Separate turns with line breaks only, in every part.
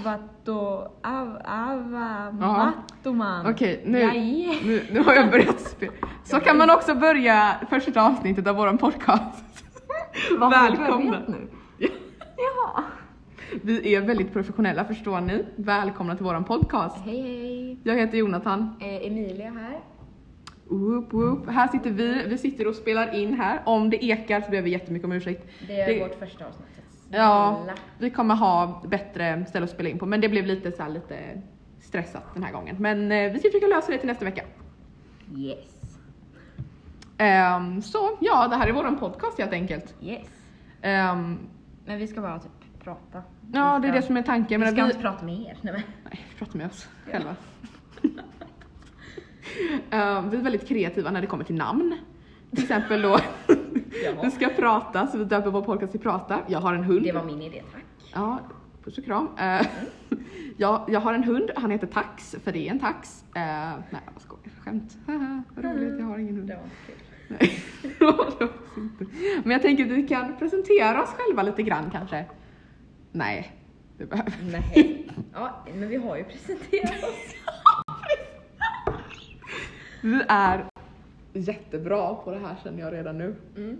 Avato... Av, ava...
Ja.
Matoman.
Okej, nu,
Jaje.
nu, nu har jag börjat spela. Så kan man också börja första avsnittet av våran podcast.
Vad har vi
Välkomna.
börjat nu? Jaha.
Vi är väldigt professionella förstår ni. Välkomna till våran podcast.
Hej hej.
Jag heter Jonathan.
Eh, Emilia här.
Woop, woop. Här sitter vi, vi sitter och spelar in här. Om det ekar så ber vi jättemycket om ursäkt.
Det är
Det-
vårt första avsnitt.
Ja,
Snälla.
vi kommer ha bättre ställe att spela in på men det blev lite så här, lite stressat den här gången. Men eh, vi ska försöka lösa det till nästa vecka.
Yes.
Ehm, så ja, det här är våran podcast helt enkelt.
Yes.
Ehm,
Men vi ska bara typ prata.
ja, det
Vi
är
ska-
det som är tanken.
Vi
Men
ska
vi,
inte prata med er. Nej, men.
Nej, vi pratar med oss själva. Ehm, vi är väldigt kreativa när det kommer till namn. Till exempel då, vi ska prata, så vi döper vår podcast till Prata. Jag har en hund.
Det var min idé, tack.
Ja, puss och kram. Eh, jag, jag har en hund, han heter Tax, för det är en tax. Eh, nej, jag skojar. Skämt. Haha, Vad roligt, jag har ingen hund.
Det var kul.
Nej, det var det också inte. Men jag tänker att vi kan presentera oss själva lite grann kanske. Nej, det behöver vi
Nej. Ja, men vi har ju presenterat oss.
Vi är jättebra på det här känner jag redan nu.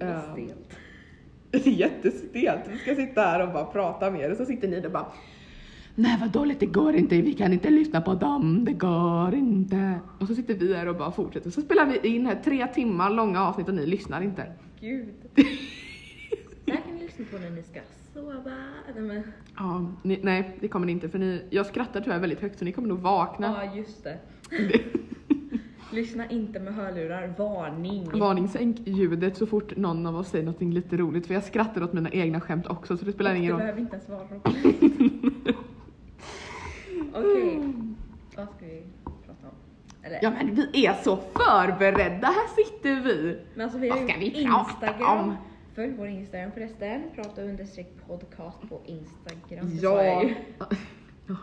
Mm.
Eh,
Vad stelt.
Det är jättestelt. Vi ska sitta här och bara prata med er och så sitter ni där och bara Nej vad dåligt, det går inte, vi kan inte lyssna på dem, det går inte. Och så sitter vi här och bara fortsätter. Så spelar vi in här tre timmar långa avsnitt och ni lyssnar inte.
Gud. Det här kan ni lyssna på när ni ska sova. Nej, men.
Ja, ni, nej det kommer ni inte för ni, jag skrattar tyvärr väldigt högt så ni kommer nog vakna.
Ja, just det. Lyssna inte med hörlurar. Varning.
Varning, sänk ljudet så fort någon av oss säger något lite roligt för jag skrattar åt mina egna skämt också så det spelar ingen
Det
roll.
behöver inte ens vara roligt. Okej. Vad ska vi prata om? Eller,
Ja men vi är så förberedda, här sitter vi!
men alltså vi har
vad ska
ju
vi prata
Instagram.
om?
Följ vår Instagram förresten. Prata understreck podcast på Instagram. Det sa jag
Ja.
ju.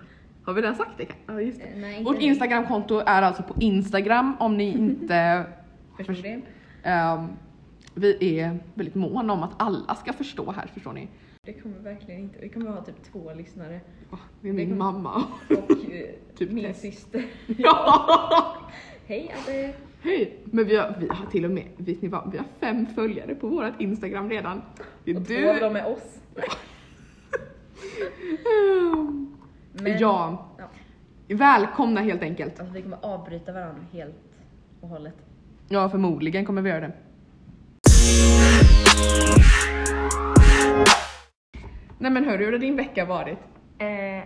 Har vi redan sagt det? Ja, just det.
Eh, Nej,
Vårt
inte-
Instagramkonto är alltså på Instagram om ni inte...
Förstår du det?
Ehm, vi är väldigt måna om att alla ska förstå här, förstår ni?
Det kommer verkligen inte. Vi kommer ha typ två lyssnare.
Åh, Det är
Det
min
kommer-
mamma.
Och eh,
Typ
min
test.
syster.
Ja.
Hej Adde!
Hej! Men vi har, vi har till och med, vet ni vad, vi har fem följare på vårt Instagram redan. Det är
Och två av
du.
dem är oss.
Ehm,
Men-
Ja,
Ja.
välkomna helt enkelt.
Alltså vi kommer avbryta varandra helt och hållet.
Ja, förmodligen kommer vi göra det. Nej men hörru, hur har din vecka varit?
Eh,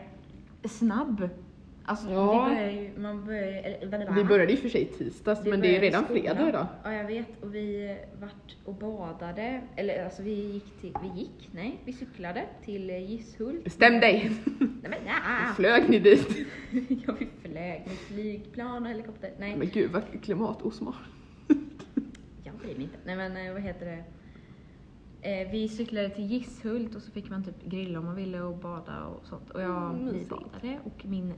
snabb. Alltså
Ja.
vi börjar ju, man börjar ju, eller, vänta, va?
Vi började ju för sig i tisdags
Vi
men det är
började i
redan
skolan.
fredag idag.
Ja jag vet och vi vart och badade, eller alltså vi gick till, vi gick, nej vi cyklade till Gisshult.
Bestäm dig!
Nej men nja!
Flög ni dit?
ja vi flög med flygplan och helikopter, nej.
Men gud vad klimatosmart.
Jag bryr mig inte. Nej men eh, vad heter det? Eh, vi cyklade till Gisshult och så fick man typ grilla om man ville och bada och sånt. Och jag
Mm,
vi
mysigt.
badade och min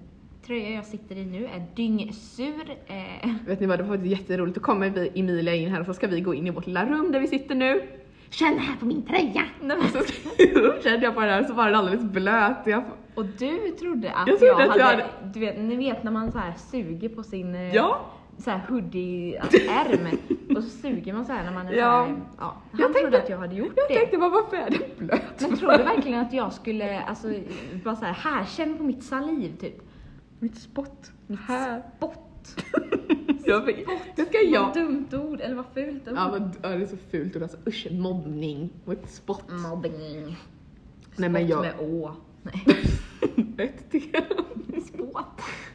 tröja jag sitter i nu är dyngsur. Eh,
Vet ni vad, det var faktiskt jätteroligt. Då kommer vi, Emilia in här och så ska vi gå in i vårt lilla rum där vi sitter nu.
Känn här på min tröja! Nej, men,
Så så kände jag på den här så var den alldeles blöt. Jag,
och du trodde att
Jag
jag,
trodde att
hade,
jag
Du vet, ni vet när man så här suger på sin eh,
ja,
så här hoodie-ärm och så suger man så här när man är
Ja.
så här, ja. Han
Jag
trodde
tänkte-
att jag hade gjort
jag
det.
tänkte bara varför är den blöt?
Men tror du verkligen att jag skulle, alltså, bara såhär, här, känn på mitt saliv typ.
Mitt spott.
Mitt
Här.
spott.
Jag fick, det ska jag
Vad dumt ord, eller vad fult ord.
Ja, men, ja, det är så fult ord alltså. Usch, mobbning. Och ett spott.
Mobbing.
Nej, men
Spott
jag-
med å. Nej, Mm.
Ett till.
spåt.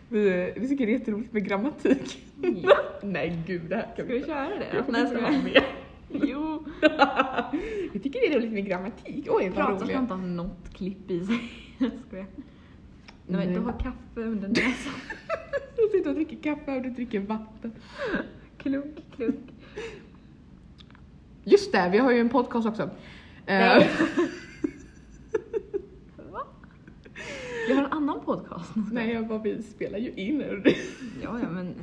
Vi, vi tycker det är jätteroligt med grammatik.
Ja.
Nej gud, det här kan
Ska vi köra det?
Jag får inte vara
jag
med.
Jo.
Vi tycker det är roligt med grammatik. Oj, vad
Pratar ska
roliga.
inte ha något klipp i sig. Jag skojar. Nej, men
Nej.
du har kaffe under näsan.
Du sitter och dricker kaffe och du dricker vatten.
klunk, klunk.
Just det, vi har ju en podcast också. Eh,
Nej. Va? Jag har en annan podcast.
Nej, jag bara, vi spelar ju in. det.
Ja, ja, men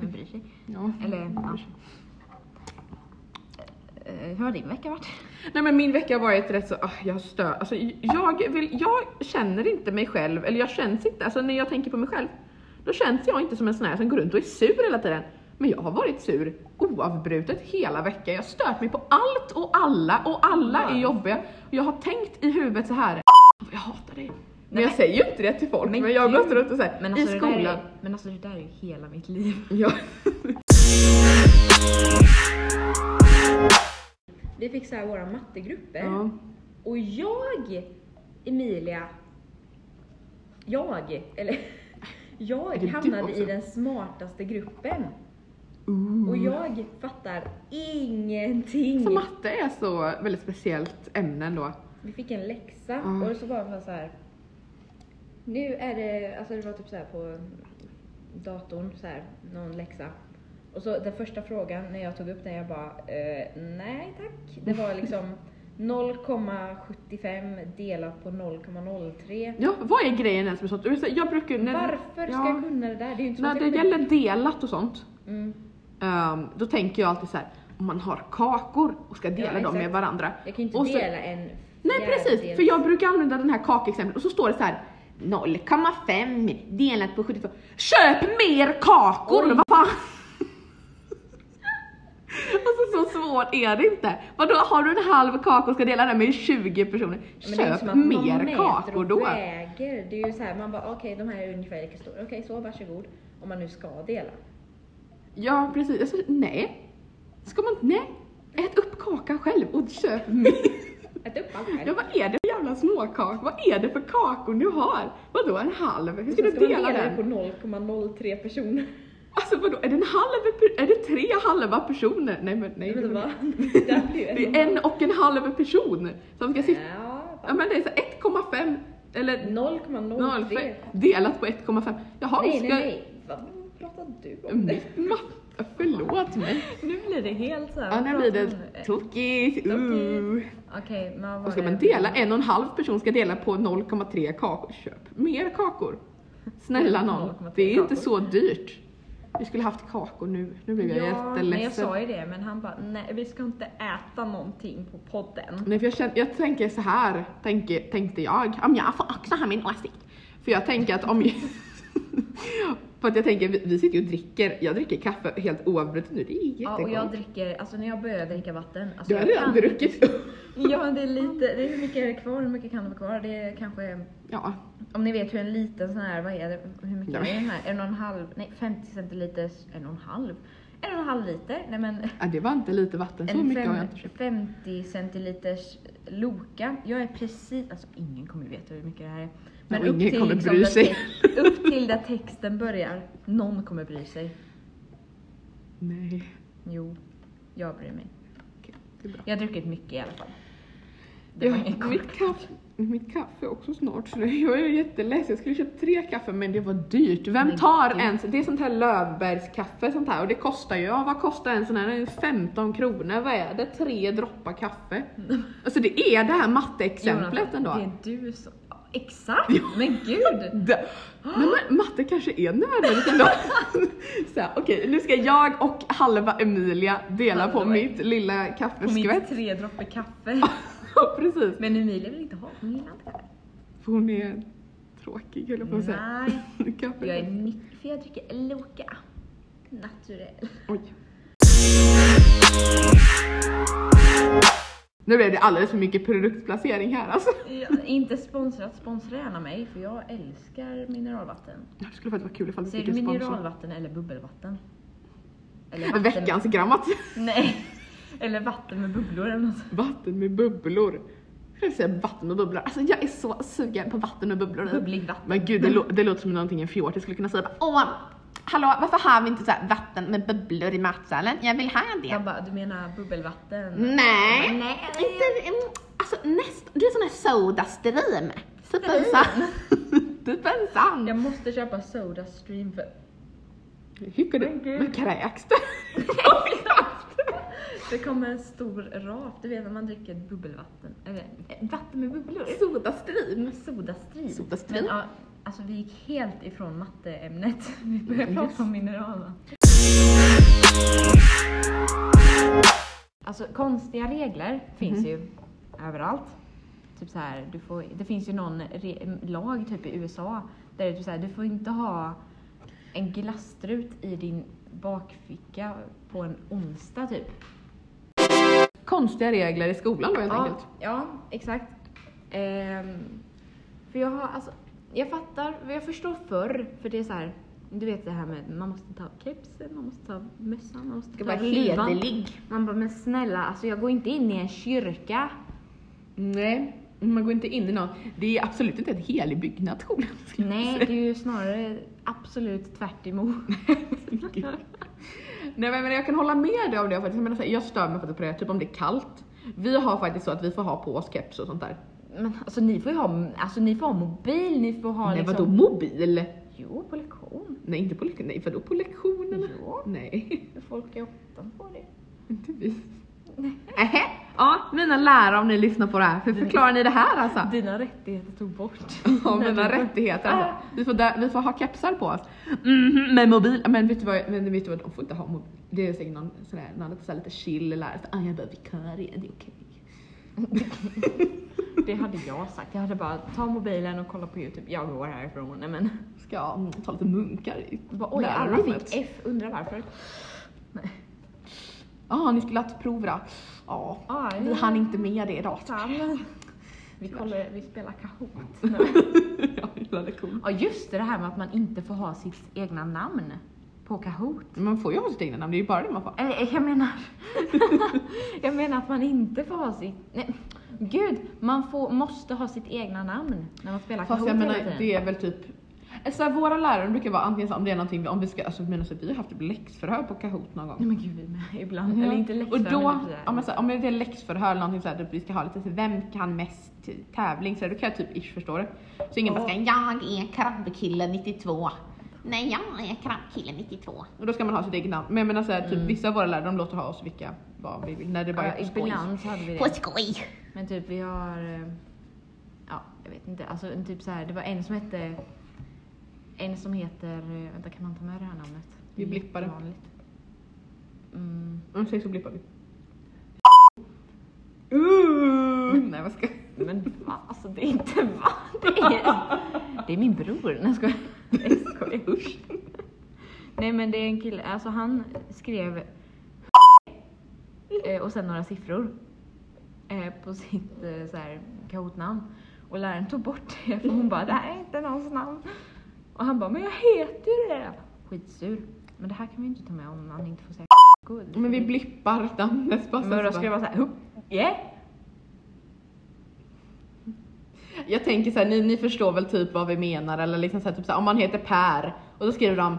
vem bryr sig?
ja.
Eller annars. Eh, Hur har din vecka varit?
Nej men min vecka har varit rätt så, ah, jag stör, alltså jag vill, jag känner inte mig själv, eller jag känns inte, alltså när jag tänker på mig själv, då känns jag inte som en sån här som går runt och är sur hela tiden. Men jag har varit sur oavbrutet hela veckan, jag har stört mig på allt och alla och alla är
Wow.
jobbiga. Och jag har tänkt i huvudet så här. jag hatar dig. Men
Nej,
jag säger ju inte det till folk, men,
men
jag har
gud.
gått runt och såhär,
Men alltså,
i
Det där
skolan.
är, men alltså det där är ju hela mitt liv.
Ja.
Vi fick så här våra mattegrupper.
ja.
Och jag, Emilia, jag, eller
Är
jag
det du
hamnade
också?
i den smartaste gruppen.
Ooh.
Och jag fattar ingenting.
Så matte är så väldigt speciellt ämne ändå.
Vi fick en läxa
Ja.
och så var det så här. Nu är det, alltså det var typ så här på datorn, så här, någon läxa. Och så den första frågan när jag tog upp den, jag bara eh, nej tack. Det var liksom 0,75 delat på 0,03.
Ja, vad är grejen ens med sånt? Jag brukar, när,
Varför ska
ja,
jag kunna det där? Det är ju inte så
När
att
det
jag kommer-
gäller delat och sånt,
Mm.
ehm, då tänker jag alltid så här. om man har kakor och ska dela
Ja,
dem
exakt.
med varandra.
Jag kan ju inte
Och så-
dela en
Nej precis,
fjärdedel.
för jag brukar använda den här kakexemplet och så står det så här 0,5 delat på 72. Köp mer kakor!
Oj.
Vad fan! alltså så svårt är det inte. Vadå, har du en halv kaka och ska dela den med 20
Men
personer?
det är ju
Köp
som att man mäter
mer kakor
och
då!
Väger. Det är ju så här, man bara okej de här är ungefär lika stora. Okej så varsågod. Om man nu ska dela.
Ja precis, alltså, nej. Ska man nej. Ät upp kakan själv och köp mer.
Ät upp allt
Ja
själv.
vad är det för jävla småkakor? Vad är det för kakor du har? Vadå en halv? Hur ska
Sen
du
ska man
dela
det
den?
på 0,03 personer.
Alltså vadå, är det en halv, per- är det tre halva personer? Nej men nej.
Nej,
det,
men
var-
va? Det där blir
det
ju
är en och en halv person som ska sitta,
Ja,
ja
va?
men det är så 1,5 eller
0,03.
0,5 delat på 1,5. Jaha,
Nej, nej,
ska... Mm.
nej. Vad pratar du om? Det?
Mitt matte, förlåt mig.
Nu blir det helt såhär.
Ja, nu blir det tokigt. Uh.
Okej, men vad var
Och ska
det?
man dela, en och en halv person ska dela på 0,3 kakor. Köp mer kakor. Snälla någon,
0,3
det är inte
kakor.
så dyrt. Vi skulle haft kakor nu, nu blev jag
Ja, men jag
jätteledsen.
sa ju det men han bara nej vi ska inte äta någonting på podden.
Nej, för jag, känner, jag tänker så här, tänker, tänkte jag, om jag får också ha min åsikt. För jag tänker att om... för att jag tänker, vi, vi sitter ju och dricker, jag dricker kaffe helt oavbrutet nu, det är
Ja, och
jättegott.
jag dricker, alltså när jag börjar dricka vatten. Alltså,
du har
jag
redan
kan-
druckit.
Ja men det är lite, det är hur mycket är det kvar, hur mycket kan det vara kvar? Det är kanske,
ja,
om ni vet hur en liten sån här, vad är det, hur mycket
Ja.
är den här? En och en halv, nej 50 centiliter, en och en halv? En och en halv liter? Nej men
ja, äh, det var inte lite vatten, så
en
mycket har jag
fem,
inte köpt.
50 centiliters Loka. Jag är precis, alltså ingen kommer ju veta hur mycket det här är.
och ingen kommer
liksom
bry
där
sig.
tex- upp till där texten börjar, någon kommer bry sig.
Nej,
Jo, jag bryr mig.
okej, det är bra.
Jag har druckit mycket i alla fall. Det
Jag,
var ingen
mitt, kaffe, mitt kaffe är också snart så det- jag är jätteledsen. Jag skulle köpa tre kaffe men det var dyrt. Vem
Men
tar
gud.
ens, det är sånt här Löfbergskaffe sånt här och det kostar ju, ja, vad kostar en sån här, Den är 15 kronor, vad är det? Tre droppar kaffe. Alltså det är det här matteexemplet
Jonathan,
ändå.
Det är du som... ja, Exakt! Men gud!
Det... Men ma- matte kanske är nödvändigt ändå. Så här, Okej, nu ska jag och halva Emilia dela på
Halva.
mitt lilla
På mitt
kaffeskvätt.
tre droppar kaffe.
Ja, precis.
Men Emilia vill inte ha, hon gillar inte kaffe.
För hon är tråkig höll jag på att säga.
Nej.
Kaffe.
Jag är nick, för jag dricker Loka. Naturell.
Oj. Nu blev det alldeles för mycket produktplacering här alltså.
Jag, inte sponsrat, sponsra gärna mig för jag älskar mineralvatten.
Det skulle faktiskt vara kul ifall vi
Säger
fick
du
en sponsor.
mineralvatten eller bubbelvatten?
Veckans grammat.
Nej. Eller vatten med bubblor eller något.
Vatten med bubblor. Jag skulle säga vatten och bubblor. Alltså jag är så sugen på vatten och bubblor.
Bubblig vatten.
Men gud, det, lå- det låter som någonting en fjortis skulle kunna säga. Bara, Åh, hallå, varför har vi inte så här vatten med bubblor i matsalen? Jag vill ha det.
Jag bara, du menar bubbelvatten?
Mm. Nej.
Nej.
Inte, mm, alltså nästan, du är sån här sodastream. Typ en sand. typ en sand.
Jag måste köpa Sodastream för
Hur
Men
du?
gud.
Men kräks det?
Det kommer en stor rap, du vet när man dricker bubbelvatten. Eller eh, vatten med bubblor.
Sodastream.
Sodastream.
Sodastream.
Men, ja, alltså vi gick helt ifrån matteämnet. Vi började
Mm,
prata
yes.
om mineraler. Alltså konstiga regler finns ju överallt. Typ så här, du får, det finns ju någon re, lag typ i USA där det är typ så här, du får inte ha en glasstrut i din bakficka på en onsdag typ.
Konstiga regler i skolan då helt
ja,
enkelt.
Ja, exakt. Ehm, för jag har, alltså, jag fattar, jag förstår förr, för det är så här, du vet det här med man måste ta av kepsen, man måste ta av mössan, man måste ta
Ska vara
av luvan.
hederlig.
Man bara, men snälla, alltså jag går inte in i en kyrka.
Nej, man går inte in i någon. Det är absolut inte en helig byggnad skolan. ska jag
Nej,
säga.
det är ju snarare absolut tvärt emot.
Nej men men jag kan hålla med dig om det faktiskt. Jag, menar, så här, jag stör mig faktiskt på det, typ om det är kallt. Vi har faktiskt så att vi får ha på oss keps och sånt där.
Men alltså ni får ju ha, alltså, ni får ha mobil, ni får ha
Nej
liksom...
vadå mobil?
Jo, på lektion.
Nej inte på lektionen, nej vadå på lektionerna?
Ja.
Nej,
Folk är åtta på det.
inte vi. Ähä. Ja, mina lärare om ni lyssnar på det här, hur förklarar ni det här alltså?
Dina rättigheter tog bort.
Ja,
När
mina
du-
rättigheter alltså.
Ah.
Vi får, där, vi får ha kepsar på oss. Mhm, med mobil. Men vet, du vad, men vet du vad, de får inte ha mobil. Det är säkert någon sån där, någon lite, så här, lite chill lärare. Så, Ah, jag är bara vikarie, det är okej.
Det hade jag sagt. Jag hade bara, ta mobilen och kolla på YouTube. Jag går härifrån. Nej men.
Ska mm, ta lite munkar i
Bara, Oj, alla
lärarrummet.
fick F. Undrar varför.
Ja, ni skulle ha haft prov då. Ja,
Ja,
vi
ja.
hann inte med det idag.
Fan. Vi, kollar, vi spelar Kahoot.
Ja, hela lektionen.
Ja just det, det här med att man inte får ha sitt egna namn på Kahoot.
Men Man får ju ha sitt egna namn, det är ju bara det man får.
Eh, eh, Jag menar, jag menar att man inte får ha sitt... Nej, gud, man får, måste ha sitt egna namn när man spelar
Fast
Kahoot
jag
hela tiden.
menar det är väl typ Alltså våra lärare brukar vara antingen så, om det är någonting, om vi ska, alltså jag menar så, vi har haft typ läxförhör på Kahoot någon gång.
Nej men gud, vi med ibland. Mm, Eller inte läxor,
Och då,
men typ så här.
om, jag, så här, om det är läxförhör eller någonting såhär, vi ska ha lite så här, vem kan mest tävling? Så här, då kan jag typ ish förstå det. Så ingen bara ska, jag är krabbkille 92.
Nej, jag är krabbkille 92.
Och då ska man ha sitt eget namn. Men jag menar såhär, typ vissa av våra lärare de låter ha oss vilka, vad vi vill. När det bara
Mm. Ja,
är skoj.
ibland så hade vi det.
På skoj!
Men typ vi har, eh, ja jag vet inte, alltså en typ så här, det var en som hette, en som heter, eh, vänta kan man ta med det här namnet?
Vi
Det är
blippar det.
jättevanligt. Mm,
Om säger så blippar vi. Uh, nej vad ska
men va? Alltså det är inte va? Det är, det är min bror, nej jag skojar. Jag skojar. Usch. Nej men det är en kille, alltså han skrev eh, och sen några siffror eh, på sitt eh, så här, Kahoot-namn. Och läraren tog bort det för hon bara det här är inte någons namn. Och han bara men jag heter ju det. Skitsur. Men det här kan vi inte ta med om man inte får säga god.
Men vi blippar namnet bara. så-
Men då
så
ska jag
bara-
vara såhär, yeah.
Jag tänker såhär, ni, ni förstår väl typ vad vi menar eller liksom såhär, typ såhär, om man heter Per och då skriver de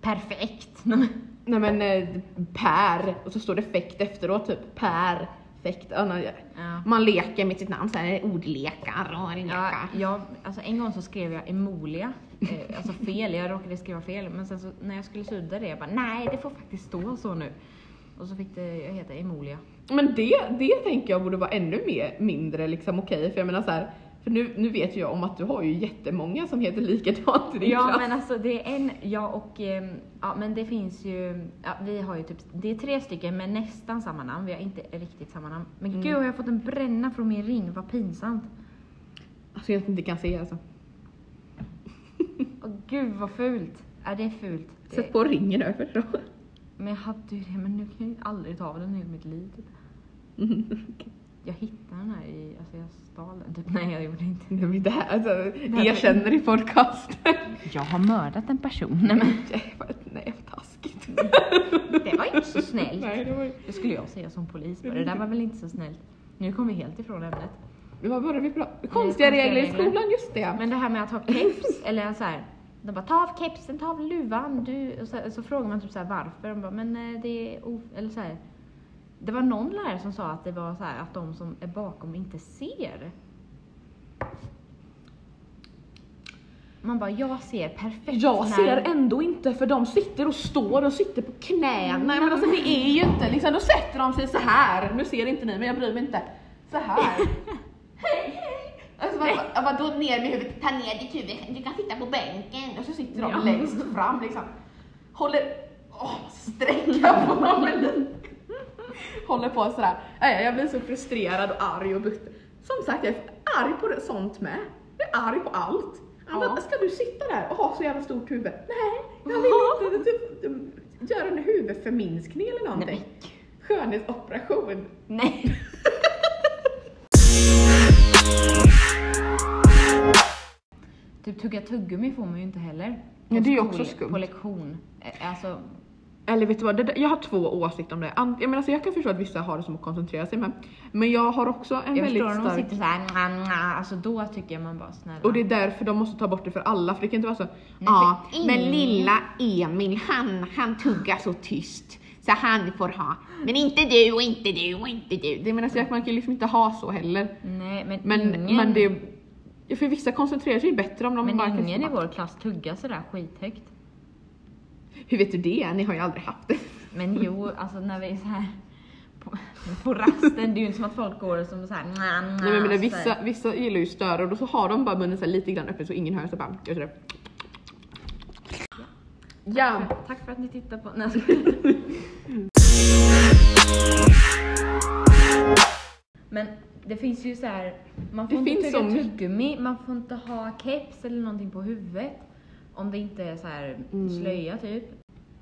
Perfekt. Nej, men-
Nej men eh, Per, och så står det fäkt efteråt typ. Per, fäkt. Ja, nej.
Ja.
Man leker med sitt namn, så här, ordlekar och lekar.
Ja, jag, alltså en gång så skrev jag emolia, eh, alltså fel, jag råkade skriva fel. Men sen så, när jag skulle sudda det, jag bara nej det får faktiskt stå så nu. Och så fick det jag heta emolia.
Men det, det tänker jag borde vara ännu mer, mindre liksom okej, för jag menar så här, för nu, nu vet ju jag om att du har ju jättemånga som heter likadant i din
Ja
klass.
men alltså det är en, ja och ehm, ja men det finns ju, ja, vi har ju typ, det är tre stycken med nästan samma namn, vi har inte riktigt samma namn. Men
Mm.
gud har jag fått en bränna från min ring, vad pinsamt.
Alltså jag inte kan se alltså.
Och gud vad fult. Ja det är fult. Det,
Sätt på ringen över då.
men jag hade ju det, men nu kan jag ju aldrig ta av den i hela mitt liv. typ. Jag hittade den här i, alltså jag stal den typ. Nej jag gjorde inte
Nej, men det här, alltså, erkänner i podcasten.
Jag har mördat en person. Nej men
Nej, vad- Nej, vad taskigt.
det var ju inte så snällt.
Nej, det var ju...
Det skulle jag säga som polis bara. Det där var väl inte så snällt. Nu kom vi helt ifrån ämnet.
Vad var det vi pratade Konstiga regler i skolan, just det.
Men det här med att ha keps eller så här. De bara ta av kepsen, ta av luvan. Du, och så, så frågar man typ så här varför. De bara men eh, det är o- eller så här. Det var någon lärare som sa att det var så här att de som är bakom inte ser. Man bara jag ser perfekt.
Jag ser
när-
ändå inte för de sitter och står och sitter på knäna. Nej, men alltså, det är ju inte liksom, då sätter de sig så här. Nu ser inte ni men jag bryr mig inte. Så här. Alltså vad, vad, vadå ner med huvudet?
Ta ner ditt huvud, du kan sitta på bänken.
Och så sitter de
Ja.
längst fram liksom. Håller, åh, sträcka på dem en liten. Håller på sådär. Nej, jag blir så frustrerad och arg och butter. Som sagt, jag är arg på det- sånt med. Jag är arg på allt. Han
Ja.
bara, ska du sitta där och ha så jävla stort huvud? Nej, jag vill inte typ, um, göra en huvudförminskning eller någonting.
Nej,
Skönhetsoperation.
Nej.
Typ tugga tuggummi får man ju inte heller.
Ja, det är ju
På
också
skol-
skumt.
På lektion. Eh, Alltså,
Eller vet du vad, det, där- jag har två åsikter om det. Ant, jag, menar, alltså, jag kan förstå att vissa har det som att koncentrera sig med. Men jag har också en
jag
väldigt
förstår om de
stark...
sitter såhär, "Nja, nja", alltså då tycker jag man bara snälla.
Och det är därför de måste ta bort det för alla, för det kan inte vara så.
Ja,
Ja,
men lilla Emil han, han tuggar så tyst så han får ha. Men inte du och inte du och inte du.
det menar jag, man kan ju liksom inte ha så heller.
Nej men,
Men,
ingen,
men det... ja, För vissa koncentrerar sig ju bättre om de
men
bara kan...
ingen i vår klass tuggar sådär skithögt.
Hur vet du det? Ni har ju aldrig haft det.
Men jo, alltså när vi är såhär på, på rasten, det är ju inte som att folk går som såhär "Nja, nja",
Nej, men
så här.
jag menar, vissa, vissa gillar ju störa och då så har de bara munnen så här lite grann öppen så ingen hör. Så bara, gör sådär. Ja,
Tack för att ni tittar på... Nej, jag skojar. Men det finns ju så här. man får
Det
inte
finns
tugga
så mycket.
tuggummi, man får inte ha keps eller någonting på huvudet. Om det inte är så här
Mm.
slöja typ.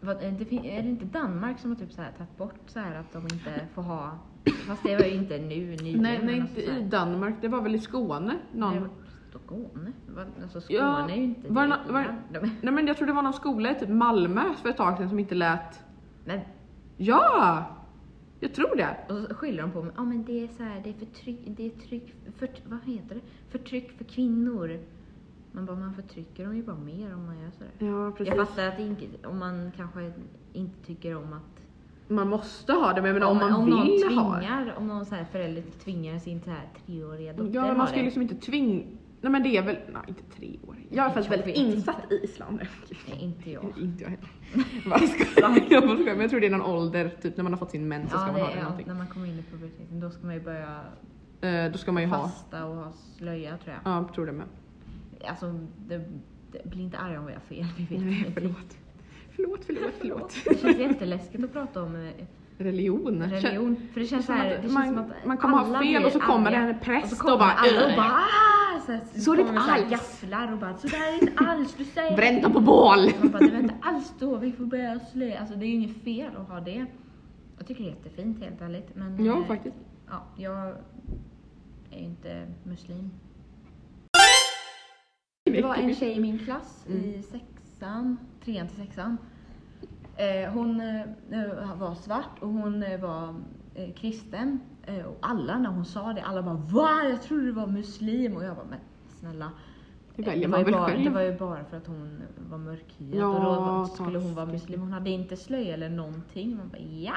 Vad- är Det, fin- är det inte Danmark som har typ så här tagit bort så här att de inte får ha... Fast det var ju inte nu nyligen.
nej, nej
men alltså
inte
så här-
i Danmark, det var väl i Skåne. Någon.
Nej, det var Skåne? Vad- Alltså Skåne
Ja,
är ju inte...
var det
direkt
nå- var-
innan. De-
Nej men jag tror det var någon skola i typ Malmö för ett tag sedan som inte lät...
Men
Ja! Jag tror det.
Och så skyller de på mig. Ja men det är så här, det är förtryck, det är tryck, för, vad heter det? Förtryck för kvinnor. Man bara, man förtrycker dem ju bara mer om man gör sådär.
Ja precis.
Jag fattar att det inte, om man kanske inte tycker om att...
Man måste ha det men jag menar, om man vill
någon
ha det.
tvingar, om någon så här förälder tvingar sin så här treåriga dotter
Ja men
ha
man ska ju
det.
liksom inte tvinga... Nej men det är väl... Nej inte tre år. Jag
Jag
är faktiskt väldigt
vet
insatt i islam.
Nej, inte jag.
Inte jag heller. Vad ska- Jag bara skojar men jag tror det är någon ålder, typ när man har fått sin mens så ska
Ja,
man
det
ha det
är,
eller
ja,
någonting.
när man kommer in i puberteten då ska man ju börja
Eh, Då ska man ju ha...
fasta och ha slöja tror jag.
Ja, jag tror det med.
Alltså, det, det, bli inte arga om vi har fel, vi vet
Nej,
ingenting.
förlåt. Förlåt, förlåt, förlåt.
Det känns jätteläskigt att prata om eh,
Religion.
religion. För det känns,
som
så här, det
att
känns
man-
som att
man kommer ha
alla
fel
blir
och så kommer
arga.
det en präst
och, så
och bara,
alla och
"Ugh."
bara "Ah!" så, här,
Så är det
kommer
inte
så här
alls.
gafflar och bara så där är inte alls, du säger
Bränn dem på bål!
Man bara, det var inte alls då, vi får börja slöja. Alltså det är ju inget fel att ha det. Jag tycker det är jättefint helt ärligt. Men,
Ja,
eh,
faktiskt.
Ja, jag är ju inte muslim. Det var en tjej i min klass i sexan, trean till sexan. Eh, hon eh, var svart och hon eh, var eh, kristen. Eh, och alla när hon sa det, alla bara VA? Jag trodde du var muslim. Och jag bara men snälla.
Det
Eh,
väljer
det var ju
man väl
bara, Det
själv.
var ju bara för att hon var mörkhyad
Ja,
och då var- skulle hon
tack.
vara muslim. Hon hade inte slöja eller någonting. Man bara ja.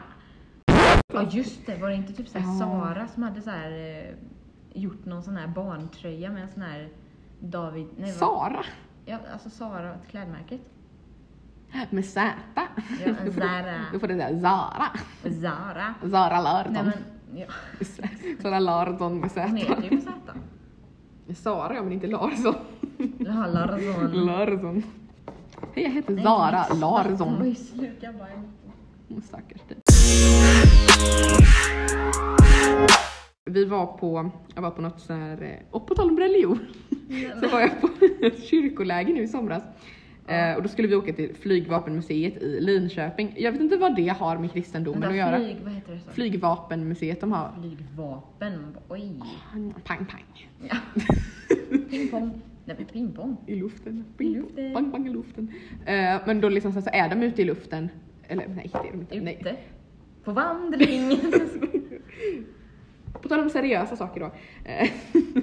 Ja just det, var det inte typ såhär
Ja.
Sara som hade såhär eh, gjort någon sån här barntröja med en sån här David... Nej, vad-
Sara.
Ja, alltså Sara, klädmärket.
Med Z.
Ja,
Du får-
Zara.
Du får det där Zara.
Zara.
Zara Lardon.
Nej men, ja,
Zara Lardon med Z.
hon heter ju på Z.
Sara ja, men inte Larsson.
Larsson.
Larsson. Hej, jag heter Zara
Hon var
Larsson.
ju slut, jag bara...
Åh, Stackars dig. Vi var på, jag var på något sånt här, eh, och på tal om religion, så var jag på ett kyrkoläger nu i somras. Eh, och då skulle vi åka till flygvapenmuseet i Linköping. Jag vet inte vad det har med kristendomen att
Vänta,
göra.
flyg, vad heter det? Så?
Flygvapenmuseet de har.
Flygvapen. Man bara, oj.
Pang pang.
Ja. Pingpong. Nej men pingpong.
I luften.
I luften.
Bang bang i luften. Eh, men då liksom så så är de ute i luften. Eller nej det är de inte. Nej.
Ute. På vandring.
På tal om seriösa saker då. eh,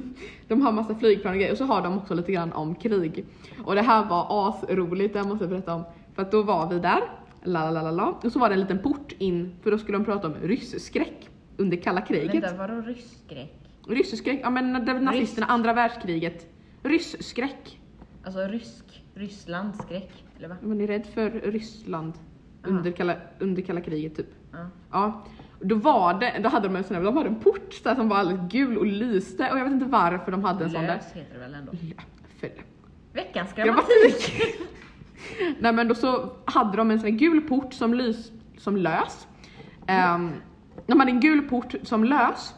De har massa flygplan och grejer och så har de också lite grann om krig. Och det här var asroligt, det här måste jag berätta om. För att då var vi där, la la la la la. Och så var det en liten port in, för då skulle de prata om rysskräck under kalla kriget.
Vänta, vadå rysskräck?
Rysskräck, ja men när nazisterna, andra världskriget. Rysskräck.
Alltså rysk, Rysslandskräck. Eller va?
Man är rädd för Ryssland under kalla, under kalla kriget typ.
Ja.
Ja. Då var det, då hade de en sån här, de hade en port så här, som var alldeles gul och lyste och jag vet inte varför de hade en sån där.
Lös heter det väl ändå.
Ja, Fel.
Veckans grammatik.
Grammatik! Nej men då så hade de en sån här gul port som, lys, som lös. Eh, Ehm, de hade en gul port som lös.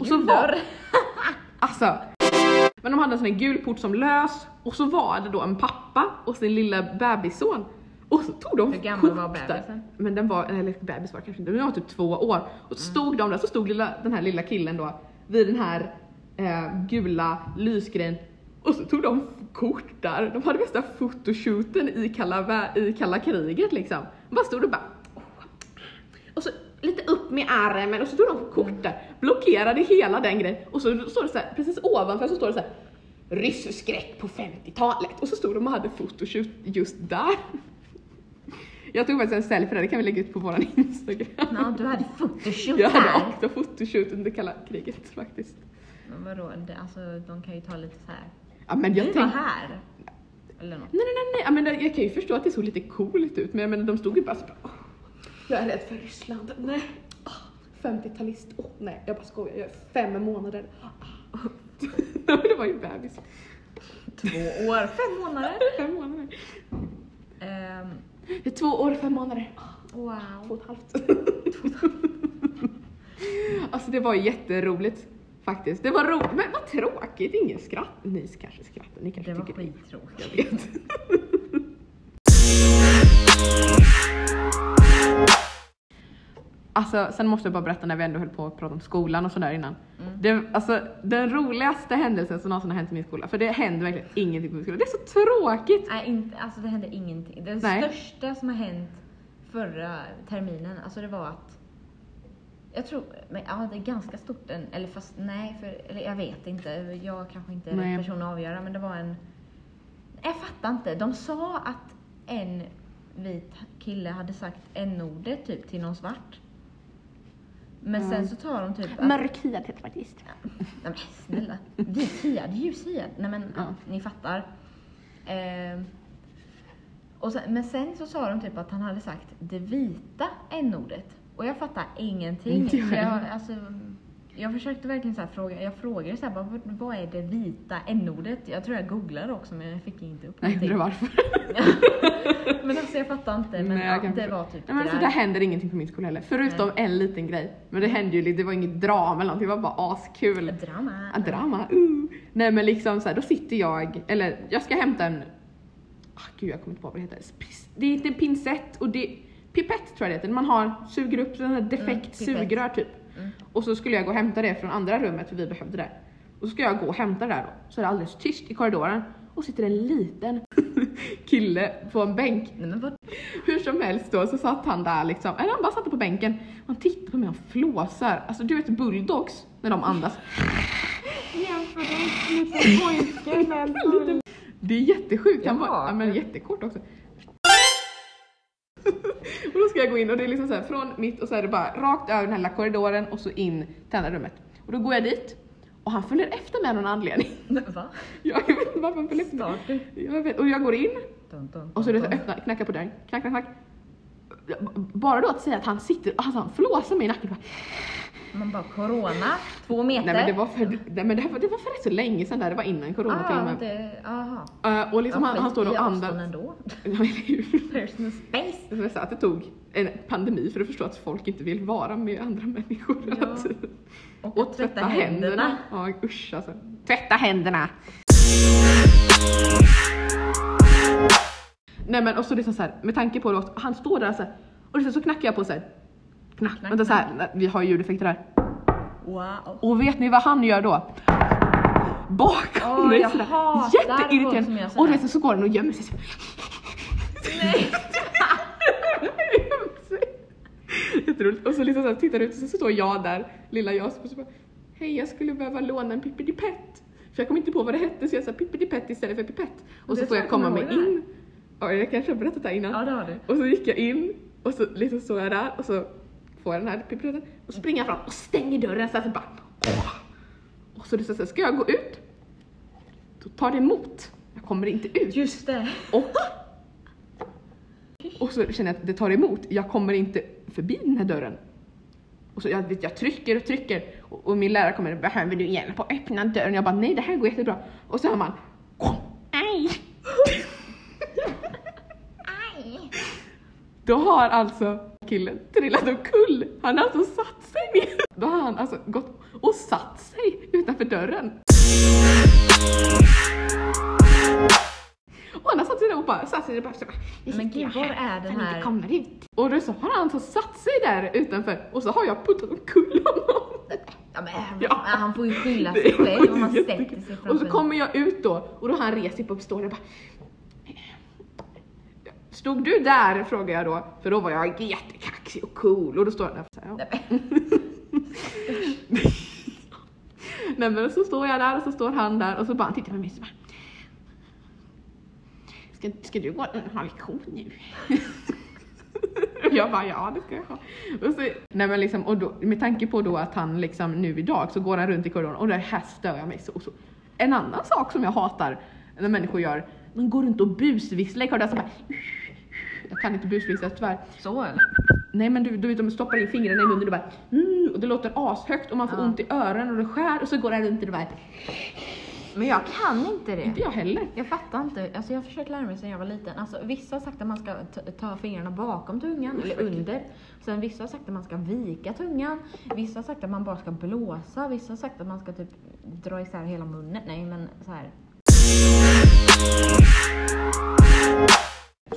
Och så
Gul
var,
dörr.
alltså, men de hade en sån här gul port som lös och så var det då en pappa och sin lilla bebisson. Och så tog de
Hur gammal var
kort där.
bebisen?
Men den var, eller bebis var det kanske inte, men den var typ två år. Och
Mm.
så stod de där, så stod lilla, den här lilla killen då vid den här eh, gula lysgrejen och så tog de kort där. De hade värsta fotoshooten i kalla, vä- i kalla kriget liksom. De bara stod och bara och så lite upp med armen och så tog de kort där, blockerade hela den grejen och så står det så här, precis ovanför så står det så här rysskräck på 50-talet och så stod de och hade fotoshoot just där. Jag tog faktiskt en selfie där, det kan vi lägga ut på våran Instagram.
Ja, du hade photoshoot
Jag hade
här.
också fotoshoot under kalla kriget faktiskt.
Men vadå, det, alltså, de kan ju ta lite så här.
Ja, men
Jag
jag
du
tänkte...
var här. Eller något.
Nej, nej, nej, nej. Ja, men det- jag kan ju förstå att det såg lite coolt ut men jag menar, de stod ju bara så bara, "Åh, Jag är rädd för Ryssland, nej. Åh, 50-talist, åh nej. Jag bara skojar, jag är fem månader. Ah. det var ju bebis.
Två år, fem månader.
Fem månader.
Ehm,
Det är två år, fem månader. Ah, Två
wow.
och ett halvt. alltså det var ju jätteroligt faktiskt. Det var roligt, men vad tråkigt. Ingen skratt. Ni kanske skrattar, ni kanske
Det var
tycker det.
skittråkigt.
Jag vet. Alltså, sen måste jag bara berätta när vi ändå höll på att prata om skolan och sådär innan.
Mm.
Det, alltså, den roligaste händelsen som någonsin har hänt i min skola, för det händer verkligen ingenting på min skola. Det är så tråkigt!
Nej, inte, alltså det hände ingenting. Det
Nej.
största som har hänt förra terminen, alltså det var att jag tror, men ja det är ganska stort en, eller fast nej, för, eller jag vet inte, jag kanske inte är
Nej.
rätt person att avgöra men det var en, jag fattar inte, de sa att en vit kille hade sagt n-ordet typ till någon svart. Men sen så tar de typ att-
Mörkhyad heter faktiskt.
Nej men snälla. Vithyad, ljushyad. Nej men
Ja.
ni fattar. Ehm, och sen, men sen så sa de typ att han hade sagt det vita n-ordet. Och jag fattar ingenting.
Inte jag
För jag,
heller.
alltså, jag försökte verkligen så här fråga, jag frågade så här, bara, "Vad- vad är det vita n-ordet? Jag tror jag googlade också men jag fick inte upp
Nej, jag
någonting.
undrar varför.
men alltså jag fattar inte. Typ. Men
Nej, jag
ja,
kan
det
förstå.
var typ
Nej, men
det
alltså,
där.
det händer ingenting på min skola heller. Förutom en liten grej. Men det hände ju lite, det var inget drama eller någonting, det var bara askul.
Drama.
Ah, drama, uh. Nej men liksom såhär, då sitter jag, eller jag ska hämta en, ah, gud jag kommer inte på vad det heter. Pis- Det är inte en pincett och det, pipett tror jag det heter, man har, suger upp sån här defekt
Mm, pipett.
sugrör typ. Och så skulle jag gå och hämta det från andra rummet för vi behövde det. Och så ska jag gå och hämta det där då, så är det alldeles tyst i korridoren och sitter en liten kille på en bänk
Nej men vad
hur som helst då så satt han där liksom, eller han bara satt på bänken och han tittade på mig och flåsar. Alltså du vet bulldogs när de andas. Det är jättesjukt, han var
Ja.
ja, men jättekort också. och då ska jag gå in och det är liksom så här från mitt och så är det bara rakt över den här lilla korridoren och så in till andra rummet. Och då går jag dit och han följer efter mig av någon anledning.
Va?
Jag vet inte varför han följer efter mig.
Starter.
Jag vet, och jag går in
Dun, dun,
och så är det så
dun, dun.
öppna, knacka på dörren, knack, knack, knack. Bara då att säga att han sitter, alltså han flåsar mig i nacken. Bara,
Man bara corona, två meter.
Nej men det var för, nej, men det, här var- det var för rätt så länge sedan där, det var innan corona till och
Ah,
med.
det, aha.
Eh, och liksom han, han står och andas.
ändå.
Ja, men det är ju-
Personal space.
Det var så att det tog en pandemi för att förstå att folk inte vill vara med andra människor.
Ja.
hela tiden.
Och, att tvätta händerna.
Ja usch alltså. Tvätta händerna! Nej men och så liksom så här, med tanke på att han står där så här, och liksom så knackar jag på så här. Knack,
Knack,
vänta så här, vi har ljudeffekter här.
Wow.
Och vet ni vad han gör då? Bakom
Åh,
mig
jag
sådär.
hatar folk som
Jätteirriterande.
gör
Och
sådär.
du vet, så går han och gömmer sig. så- Jätteroligt. Och så liksom så här, tittar ut och så står jag där, lilla jag, och så bara Hej jag skulle behöva låna en pippidipett. För jag kom inte på vad det hette så jag sa pippidipett istället för pipett. Och
Det
så får
tror
jag
jag
komma
kommer
med
ihåg det här.
in. Ja, jag kanske har berättat det här innan.
Ja det har du.
Och så gick jag in och så liksom står jag där och så får jag den här pipetten och springer jag fram och stänger dörren så här så bara åh. Och så liksom så här, ska jag gå ut? Då tar det emot. Jag kommer inte ut.
Just det.
Och, och så känner jag att det tar emot. Jag kommer inte förbi den här dörren. Och så jag, vet, jag trycker och trycker och, och min lärare kommer behöver du hjälp att öppna dörren? Jag bara nej det här går jättebra. Och så hör man
Aj! Aj!
Då har alltså killen trillat omkull. Han har alltså satt sig ner. Då har han alltså gått och satt sig utanför dörren. Och han har satt sig där och bara satt sig där och bara så bara, "Nu
Men
sitter jag
gud, var
här
är den
så han inte
här-
kommer ut.
Och då så har han alltså satt sig där utanför och så har jag puttat omkull honom.
Ja, men,
Ja.
Han får ju skylla
Det
sig
är
själv om han
jättekul.
sätter sig framför
Och så kommer jag ut då och då har han rest sig upp och står där och bara Stod du där? frågar jag då, för då var jag jättekaxig och cool och då står han där och så här, ja.
Nej,
Nej men så står jag där och så står han där och så bara han tittar på mig och så bara Ska, ska du gå och ha lektion nu? Och jag bara ja det ska jag ha. Och så, nej men liksom, och då, med tanke på då att han liksom nu idag så går han runt i korridoren och det här stör jag mig så, och så. En annan sak som jag hatar när människor gör, de går runt och busvisslar i korridoren så bara Jag kan inte busvissla tyvärr.
Så eller?
Nej men du, du vet de stoppar in fingrarna i munnen och bara mm, och det låter ashögt och man får
Ja.
ont i öronen och det skär och så går det runt i det där.
Men jag kan inte det.
Inte jag heller.
Jag fattar inte. Alltså jag har försökt lära mig sedan jag var liten. Alltså vissa har sagt att man ska t- ta fingrarna bakom tungan eller under. Sen vissa har sagt att man ska vika tungan. Vissa har sagt att man bara ska blåsa. Vissa har sagt att man ska typ dra isär hela munnen. Nej men så här.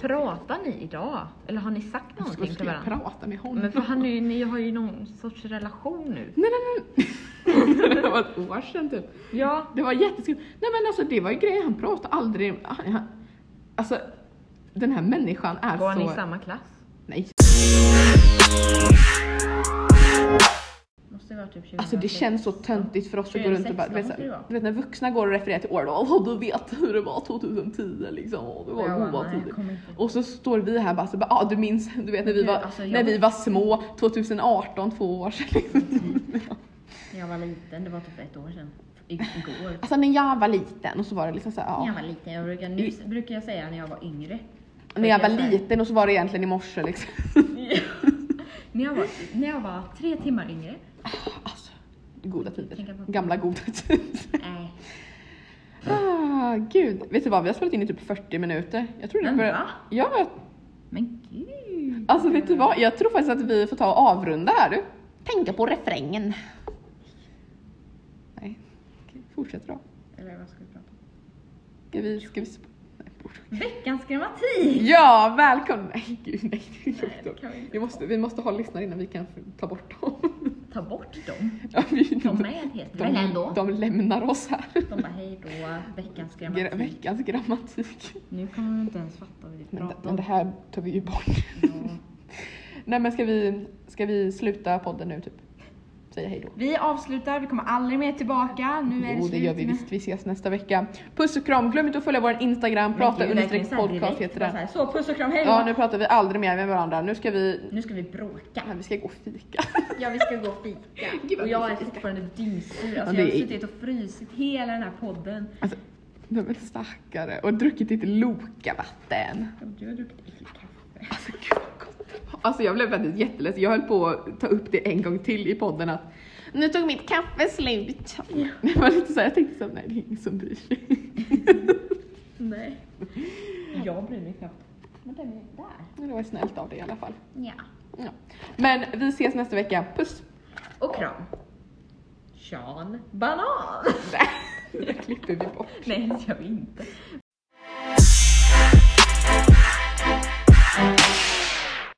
Pratar ni idag? Eller har ni sagt
Ska
någonting till
jag
varandra?
prata med honom?
Men för han är, ju- ni har ju någon sorts relation nu.
Nej nej nej. det var ett år sedan typ.
Ja.
Det var jätteskumt. Nej men alltså det var ju grejen, han pratade aldrig. Han, han, alltså den här människan är
Går liksom? ni i
så...
samma klass?
Nej.
Måste vara typ 20
Alltså det känns så töntigt för oss att gå runt och bara... Du vet, så
2016 måste det
här,
vara.
du vet när vuxna går och refererar till år då, åh du vet hur det var 2010 liksom. Åh, Det var
Ja,
goa
nej, jag
tider.
kommer inte.
Och så står vi här bara, så bara ah, du minns, du vet när vi
Men
var,
gud, alltså, jag
när vi
var-
var små, 2018, två år sedan.
När jag var liten, det var typ ett år sedan. I- Igår.
alltså när jag var liten och så var det liksom såhär,
När
ja.
jag var liten, jag brukar, nu s- brukar jag säga när jag var yngre.
När jag var
Brukar säga.
liten och så var det egentligen i morse liksom.
när, jag var, när jag var tre timmar yngre.
Alltså, goda tider.
Tänka på-
Gamla goda tider.
Nej.
Ah, gud. Vet du vad, vi har spelat in i typ 40 minuter. Jag tror det
Men
börjar...
va?
Ja, men jag-
Men gud.
alltså vet du vad, jag tror faktiskt att vi får ta och avrunda här du.
Tänka på refrängen.
Nej, Okej, fortsätt då.
Eller vad ska vi prata om?
Ska vi... Ska vi... sp- Nej, borde-
Veckans grammatik!
Ja, välkommen! Nej, gud, nej. Det är
Nej, det
jobbigt.
kan vi inte.
vi, måste, vi måste ha lyssnare innan vi kan f- ta bort dem.
Ta bort dem.
Ja, vi-
De med heter det väl
de,
ändå?
de lämnar oss här.
De bara hej då, veckans
Gra-
grammatik.
veckans grammatik.
Nu kommer vi inte ens fatta vad vi
Men, det-
pratar
men
om.
det här tar vi ju bort.
Ja.
Nej men ska vi, ska vi sluta podden nu typ? Säga hej då.
Vi avslutar, vi kommer aldrig mer tillbaka. Nu är
Jo
det
det gör vi
med-
visst, vi ses nästa vecka. Puss och kram, glöm inte att följa vår Instagram, prata
Men gud, verkligen
understreck
så här
podcast
direkt,
heter
bara
den.
så här, Så, puss och kram, hej då.
Ja nu pratar vi aldrig mer med varandra, nu ska vi,
Nu ska vi bråka.
nej, vi ska gå och fika.
Ja, vi ska gå och fika.
Gud, vad
och jag är
mysigt.
fortfarande dyngsur. Alltså,
Ja,
jag har
det är-
suttit och frysit hela den här podden.
Alltså, nej men stackare. Och druckit lite Lokavatten.
Och du har druckit äckligt kaffe.
Alltså gud vad gott det var. Alltså jag blev faktiskt jätteledsen, jag höll på att ta upp det en gång till i podden att
Nu tog mitt kaffe slut.
det var lite såhär, jag tänkte såhär, nej det är ingen som bryr sig.
Nej. Jag bryr mig knappt. Men den är där.
Men det var snällt av dig i alla fall.
Ja.
Ja. Men vi ses nästa vecka, puss!
Och kram. Sean Banan!
Det klipper vi bort.
Nej, det gör vi inte.